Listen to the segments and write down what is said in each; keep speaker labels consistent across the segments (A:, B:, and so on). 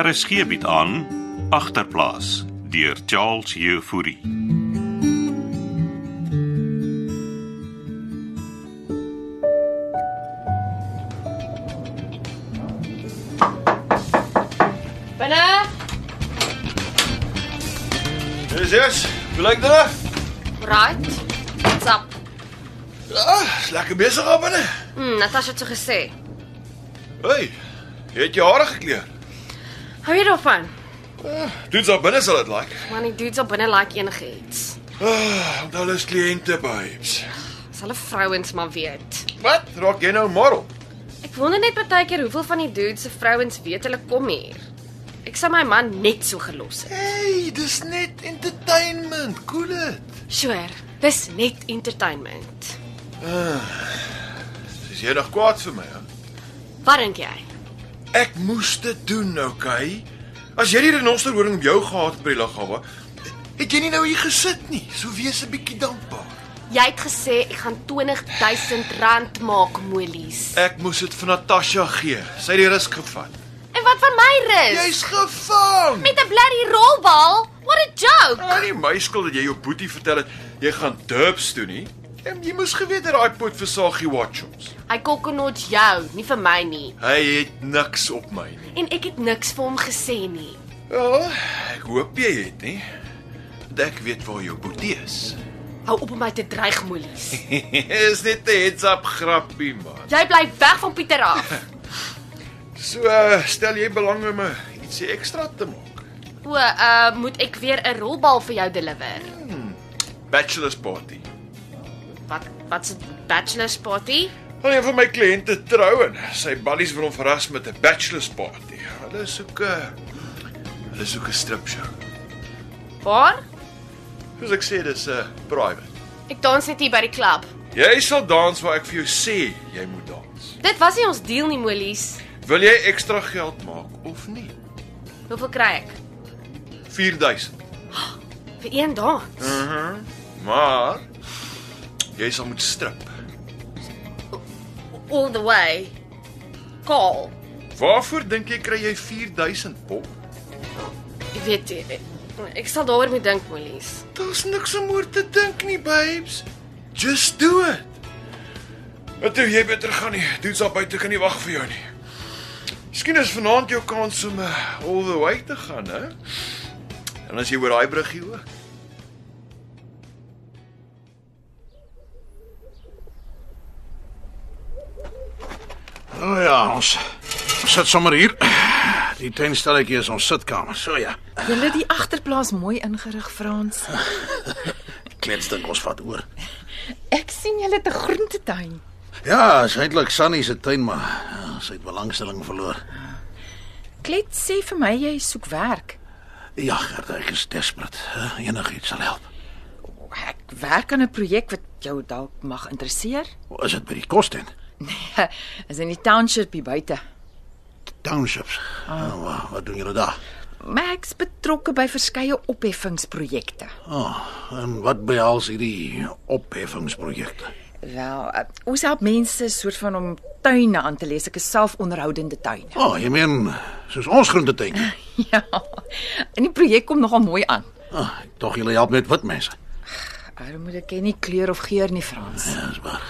A: RSG bied aan agterplaas deur Charles Jefouri.
B: Binne.
C: Dis is. Hoe lyk dit?
B: Right. What's up?
C: Ja, is lekker besig op binne.
B: Mm, Natasha het so gesê.
C: Hey. Jy het jou hare gekleur.
B: Hou jy daarvan?
C: Doets daar binne sal dit lyk.
B: Man, die dudes op binne like enigiets.
C: Ah, onthou hulle is kliënte babes.
B: Dis hulle vrouens maar weet.
C: Wat? Raak jy nou model?
B: Ek wonder net baie keer hoeveel van die dudes se vrouens weet hulle kom hier. Ek sou my man net so gelos het.
C: Hey, dis net entertainment. Cool dit.
B: Sure. Dis net entertainment.
C: Is jy nog kwaad vir my? He?
B: Wat dink jy?
C: Ek moes dit doen, okay? As jy die renosterhoring op jou gehad het by die lughawe, het jy nie nou hier gesit nie. So wees 'n bietjie dankbaar.
B: Jy het gesê ek gaan R20000 rand maak molies.
C: Ek moes dit vir Natasha gee. Sy het die risk gevat.
B: En wat van my rus?
C: Jy's gevang.
B: Met 'n bloody rolbal? What a joke.
C: Al die meiskel dat jy jou boetie vertel het jy gaan dubs toe nie. En jy moes geweet dat daai pot versagie watchels.
B: Hy kokkenot jou, nie vir my nie.
C: Hy het niks op my nie.
B: En ek het niks vir hom gesê nie.
C: Ja, ek hoop jy het nie. Want ek weet waar jou boetie is.
B: Hou op om my te dreig, Molies.
C: is net 'n heads up grappie man.
B: Jy bly weg van Pieter af.
C: So uh, stel jy belang om uh, ietsie ekstra te maak.
B: O, uh, moet ek weer 'n rolbal vir jou deliver?
C: Bachelor's party.
B: Wat wat se bachelor's party?
C: Al een van my kliënte trou en sy buddies wil hom verras met 'n bachelor's party. Hulle soek 'n hulle soek 'n stripshow.
B: Waar?
C: Soos ek sê, dis 'n uh, private.
B: Ek dans net hier by die klub.
C: Jy sal dans waar ek vir jou sê jy moet dans.
B: Dit was nie ons deal nie, Molies.
C: Wil jy ekstra geld maak of nie?
B: Hoeveel kry ek
C: 4000.
B: vir een dans?
C: Maar jy sal moet strip.
B: All the way. Kaal.
C: Waarvoor dink jy kry jy 4000 pop?
B: Ek weet nie. ek- Ek sal daaroor moet dink, Molies.
C: Daar's niks om oor te dink nie, babes. Just do it. Wat toe jy beter gaan nie. Dudes daar buite kan nie wag vir jou nie. Miskien is vanaand jou kans om eh, all the way te gaan, hè? En as jy oor daai bruggie ook.
D: O oh ja, ons ons sit sommer hier. Die tuinstelletjie is ons sitkamer. So ja.
E: Julle die agterplaas mooi ingerig Frans.
D: Klets dink ons vat oor.
E: Ek sien julle te groentetuin.
D: Ja, is eintlik Sunny se tuin, maar ja, sy het belangstelling verloor.
E: Klet sê vir my jy soek werk.
D: Ja, Gerda, ek is desperate. Eh, Enigiets sal help.
E: Ek werk aan 'n projek wat jou dalk mag interesseer.
D: Is dit by die Kosten
E: Is in die township hier buite.
D: Townships? Oh, wa- wat doen julle daar?
E: Maar ek's betrokke by verskeie opheffingsprojekte.
D: Oh, en wat behels hierdie opheffingsprojekte?
E: Wel, eh, ons help mense soort van om tuine aan te lees, ek is self onderhoudende tuine.
D: O, oh, jy meen soos ons groentetuin.
E: Ja. En die projek kom nogal mooi aan.
D: Oh, tog julle help net wit mense.
E: Armoede ken nie kleur of geur nie, Frans.
D: Ja, dis waar.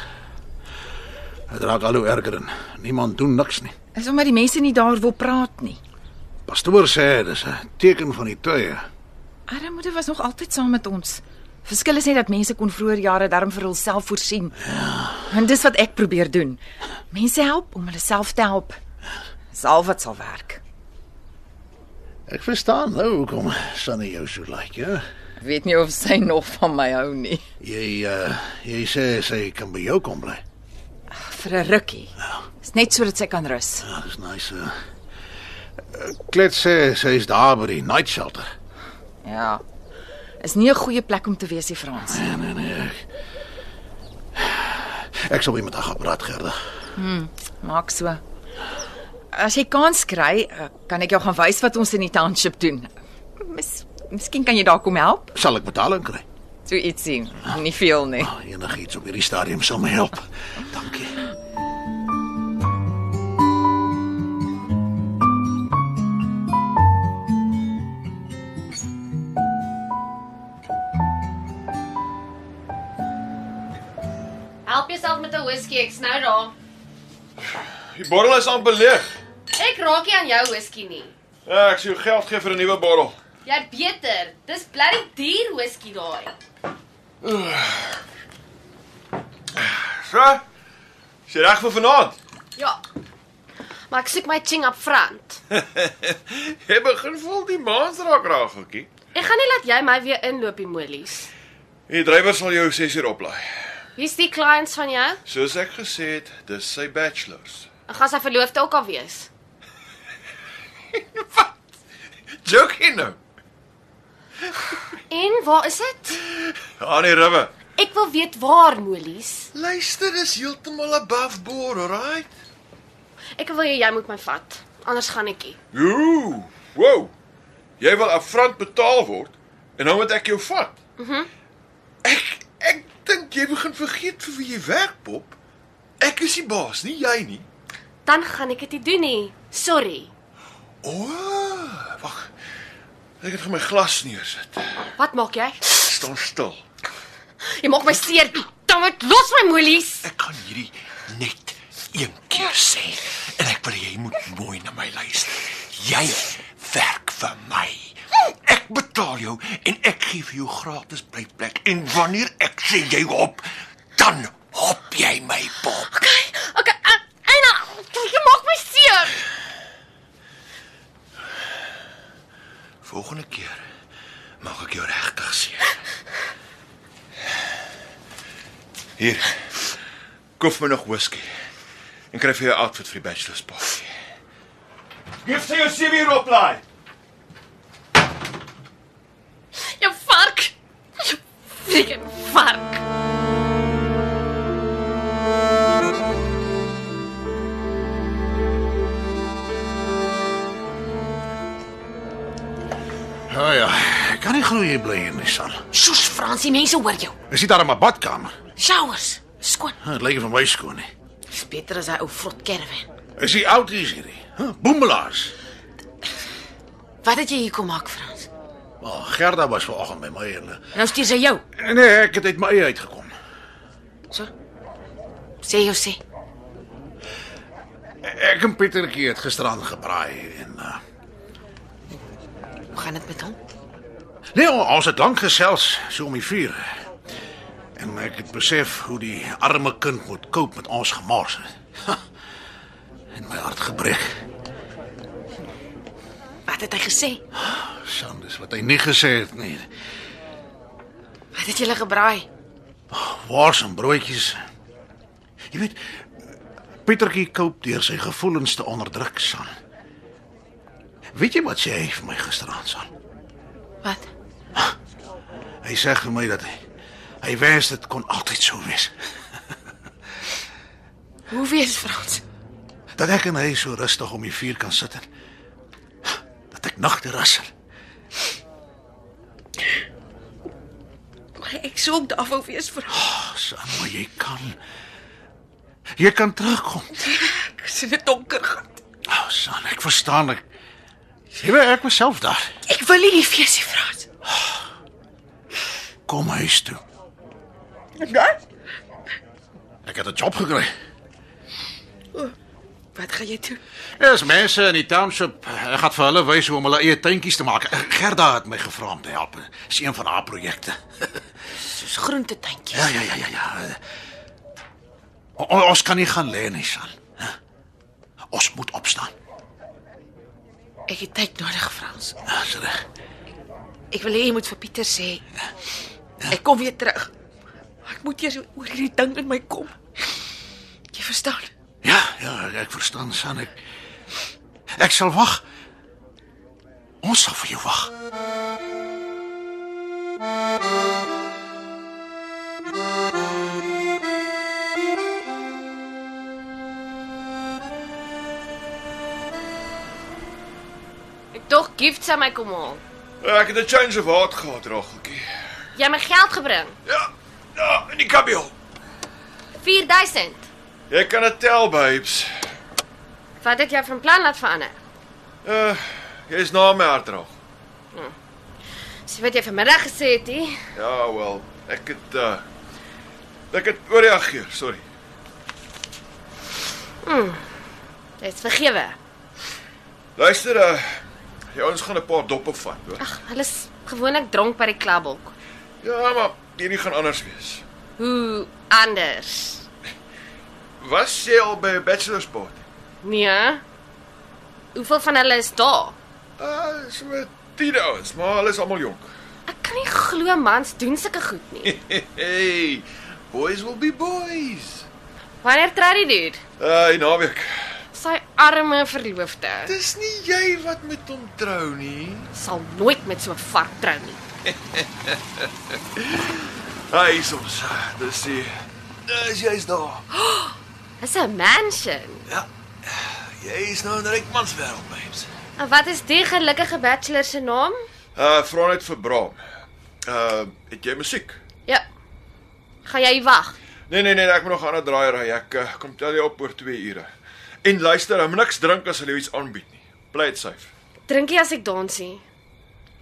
D: Dit raak al hoe erger en niemand doen niks nie.
E: Is omdat die mense nie daar wil praat nie.
D: Pastoor sê dis 'n teken van die tye.
E: Armoede was nog altyd saam met ons. Verskil is net dat mense kon vroeër jare darm vir hulself voorsien. Ja. En dis wat ek probeer doen. Mense help om hulle self te help. Dis al wat sal werk.
D: Ek verstaan nou hoekom Sunny jou so lyk, ja.
E: Ek weet nie of sy nog van my hou nie.
D: Jy uh, jy sê sy kan by jou kom bly.
E: Vir 'n rukkie. Dis net sodat sy kan rus.
D: Ja, dis nice. Uh. Klets sê sy is daar by die night shelter.
E: Ja. Is nie 'n goeie plek om te wees nie, Frans.
D: Nee nee nee. Ek, ek sal weer met haar gaan praat, Gerda.
E: Maak so. As jy kans kry, eh, kan ek jou gaan wys wat ons in die township doen. Mis, miskien kan jy daar kom help.
D: Sal ek betaling kry?
E: So ietsie, nie veel nie.
D: Oh, Enigiets op hierdie stadium sal my help. Dankie.
B: Help jouself met 'n whisky, ek's nou daar.
C: Die bottel is aan belig.
B: Ek raak nie aan jou whisky nie.
C: Ja, ek sê jou geld gee vir 'n nuwe bottel.
B: Jy het beter. Dis bly duur whisky daai.
C: So. Is jy reg vir vanaand?
B: Ja. Maar ek soek my ching up front.
C: Jy begin vol die maand raak raak, gokkie.
B: Ek gaan nie laat jy my weer inloop die molies.
C: Die drywer sal jou 6 uur oplaai.
B: Wie's die clients van jou?
C: Soos ek gesê het, dis sy bachelors.
B: En gaan sy verloofde ook al wees?
C: Wat? Joke hier nou.
B: En waar is dit?
C: Aan die ribbe.
B: Ek wil weet waar molies.
C: Luister, dis heeltemal above board, alright?
B: Ek wil hê jy moet my vat. Anders gaan ek nie.
C: Ooh, wow. Jy wil afrant betaal word en nou moet ek jou vat. Mhm. ek ek dink jy begin vergeet vir wie jy werk, Pop. Ek is die baas, nie jy nie.
B: Dan gaan ek dit nie doen nie. Sorry.
C: O, wag. Ek het vir my glas neersit.
B: Wat maak jy?
C: Staan stil.
B: Jy maak my seer. Dan moet los my molies.
C: Ek kan hierdie net een keer sê en ek wil jy moet mooi na my luister. Jy werk vir my. Ek betaal jou en ek gee vir jou gratis blyplek. En wanneer ek sê jy hop, dan hop jy my pop.
B: Okay. Okay. uh, Eina, jy maak my seer.
C: Volgende keer mag ek jou regtig seer. Hier. Koop my nog whisky. En kry vir jou outfit vir die bachelor's party. Geef sy jou 7 uur oplaai.
B: Jou vark. Jou freaking vark.
D: Ja ja, ek kan nie glo jy bly hier nie, San.
F: Soos Fransie, mense hoor jou.
D: Is dit daar in my badkamer?
F: Showers, skoon.
D: Huh, Dit lyk van my skoon nie.
F: Dis beter as daai ou vrot caravan.
D: Is die oud hier hierdie? Huh, Boemelaars.
F: Wat het jy hier kom maak, Frans?
D: Maar Gerda was vanoggend by my en eh,
F: Nou stuur sy jou.
D: nee, ek het uit my eie uitgekom.
F: So. Sê jou sê.
D: Ek en Pietertjie het gisteraan gebraai en uh,
F: Hoe gaan dit met hom?
D: nee, ons het lank gesels so om die vuur. En ek het besef hoe die arme kind moet cope met ons gemors. Ha, En my hart gebreek.
F: Wat het hy gesê?
D: Sand is wat hy nie gesê het nie.
F: Wat het julle gebraai?
D: Wars en broodjies. Jy weet Pietertjie koop deur sy gevoelens te onderdruk, San. Weet jy wat sê hy vir my gisteraand, San?
F: Wat?
D: Hy sê vir my dat hy hy wens dit kon altyd so wees.
F: Hoe wees Frans?
D: Dat ek en hy so rustig om die vuur kan sit en dat ek nagte rassel.
F: Maar ek sou ook daar wou wees vir
D: San, maar Ah, jy kan jy kan terugkom.
F: ek sien dit donker gaan.
D: Oh, San, ek verstaan ek. Jy weet ek was self daar.
F: Ek wil nie die feesie Frans.
D: Kom huis toe.
F: Wat?
D: Ek het 'n job gekry.
F: Wat gaan jy doen?
D: Daar's mense in die township. Ek gaan vir hulle wys hoe om hulle eie tuintjies te maak. Gerda het my gevra om te help. Dis een van haar projekte.
F: Soos groentetuintjie.
D: Ja, ja, ja, ja, ja. O, o- ons kan nie gaan lê nie, San. hè? Ons moet opstaan.
F: Ek het tyd nodig, Frans.
D: Ja, Dis reg.
F: Ek wil hê jy moet vir Pieter sê. Ek kom weer terug. Maar Ek moet eers oor hierdie ding in my kom. Jy verstaan?
D: Ja, ja, ek- ek verstaan, San. Ek ek sal wag. Ons sal vir jou wag.
B: Ek tog gift sy my kom haal.
C: Ek het 'n change of heart gehad, Raggeltjie.
B: Jy het my geld gebring.
C: Ja. Ja, in die kabiel.
B: 4000.
C: Jy kan dit tel, babes.
B: Wat het jy van plan laat verander?
C: Uh, jy's na my hart rag.
B: Sê wat jy vanmiddag gesê het, hè?
C: Ja, wel, ek het uh eh, Ek het oorreageer, sorry.
B: Dis vergewe.
C: Luister, uh, die ouens gaan 'n paar doppe vat, hoor.
B: Ag, hulle is gewoonlik dronk by die klubhok.
C: Ja, maar hierdie gaan anders wees.
B: Hoe anders?
C: Was jy al by 'n bachelor's party?
B: Nee. Hoeveel van hulle is daar?
C: Ah, so met 10 ouens, maar hulle is almal jonk.
B: Ek kan nie glo mans doen sulke goed nie.
C: Hey, boys will be boys.
B: Wanneer trou die dude?
C: Uh, die naweek.
B: Sy arme verloofde
C: Dis nie jy wat met hom trou nie.
B: sal nooit met so 'n vark trou nie.
C: Hy Ah, is ons. Dis die Dis jy's daar. Ja,
B: Dis 'n mansion.
C: Jy is nou in 'n rykmans wêreld, babes.
B: En wat is die gelukkige bachelor se naam?
C: Uh, vra net vir Bram. Uh, het jy musiek?
B: Ja. Gaan jy wag?
C: Nee nee nee, ek moet nog 'n ander draai ry. Ek uh, kom tel jou op oor 2 ure. En luister, hom niks drink as hulle jou iets aanbied nie. Bly dit safe.
B: Drink jy as ek dansie?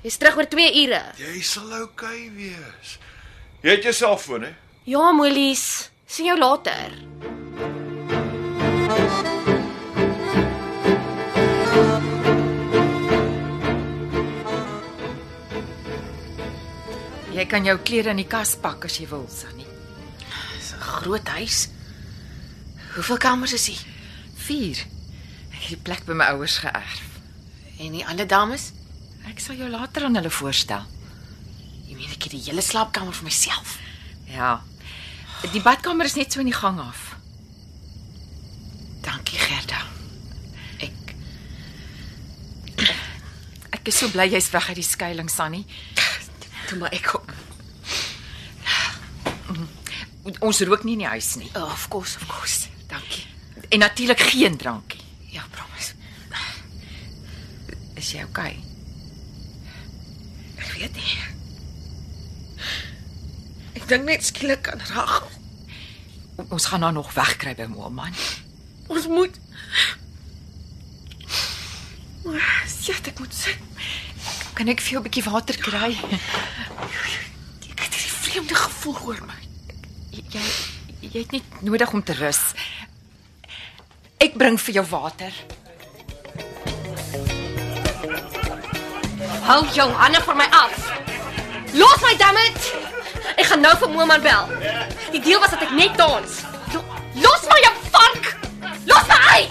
B: Jy's terug oor 2 ure.
C: Jy sal oukei okay wees. Jy het jou selfoon hè?
B: Ja, Molies. Sien jou later.
E: Jy kan jou klere in die kas pak as jy wil, Sunny.
F: Dis 'n groot huis. Hoeveel kamers is hier?
E: 4. Ek het die plek by my ouers geërf.
F: En die ander dames?
E: Ek sal jou later aan hulle voorstel.
F: Jy meen ek het die hele slaapkamer vir myself.
E: Ja. Die badkamer is net so in die gang af.
F: Dankie Gerda. Ek
E: Ek is so bly jy's weg uit die skuilings, Sunny.
F: toe maar ek op.
E: Ons rook nie in die huis nie.
F: Oh, of course, of course. Dankie.
E: En natuurlik geen drankie.
F: Ja, promise.
E: Is jy okay?
F: Ek weet nie. Ek dink net skielik aan Rachel.
E: O- Ons gaan haar nog wegkry by Moelman.
F: Ons moet
E: Ja,
F: Sjoe, ek moet sê,
E: Kan ek vir jou 'n bietjie water kry?
F: ek het hierdie vreemde gevoel oor my.
E: Jy jy het net nodig om te rus. Ek bring vir jou water.
B: Hou jou hande van my af. Los my dammit. Ek gaan nou vir Moman bel. Die deal was dat ek net dans. Lo- Los my jou vark. Los my uit.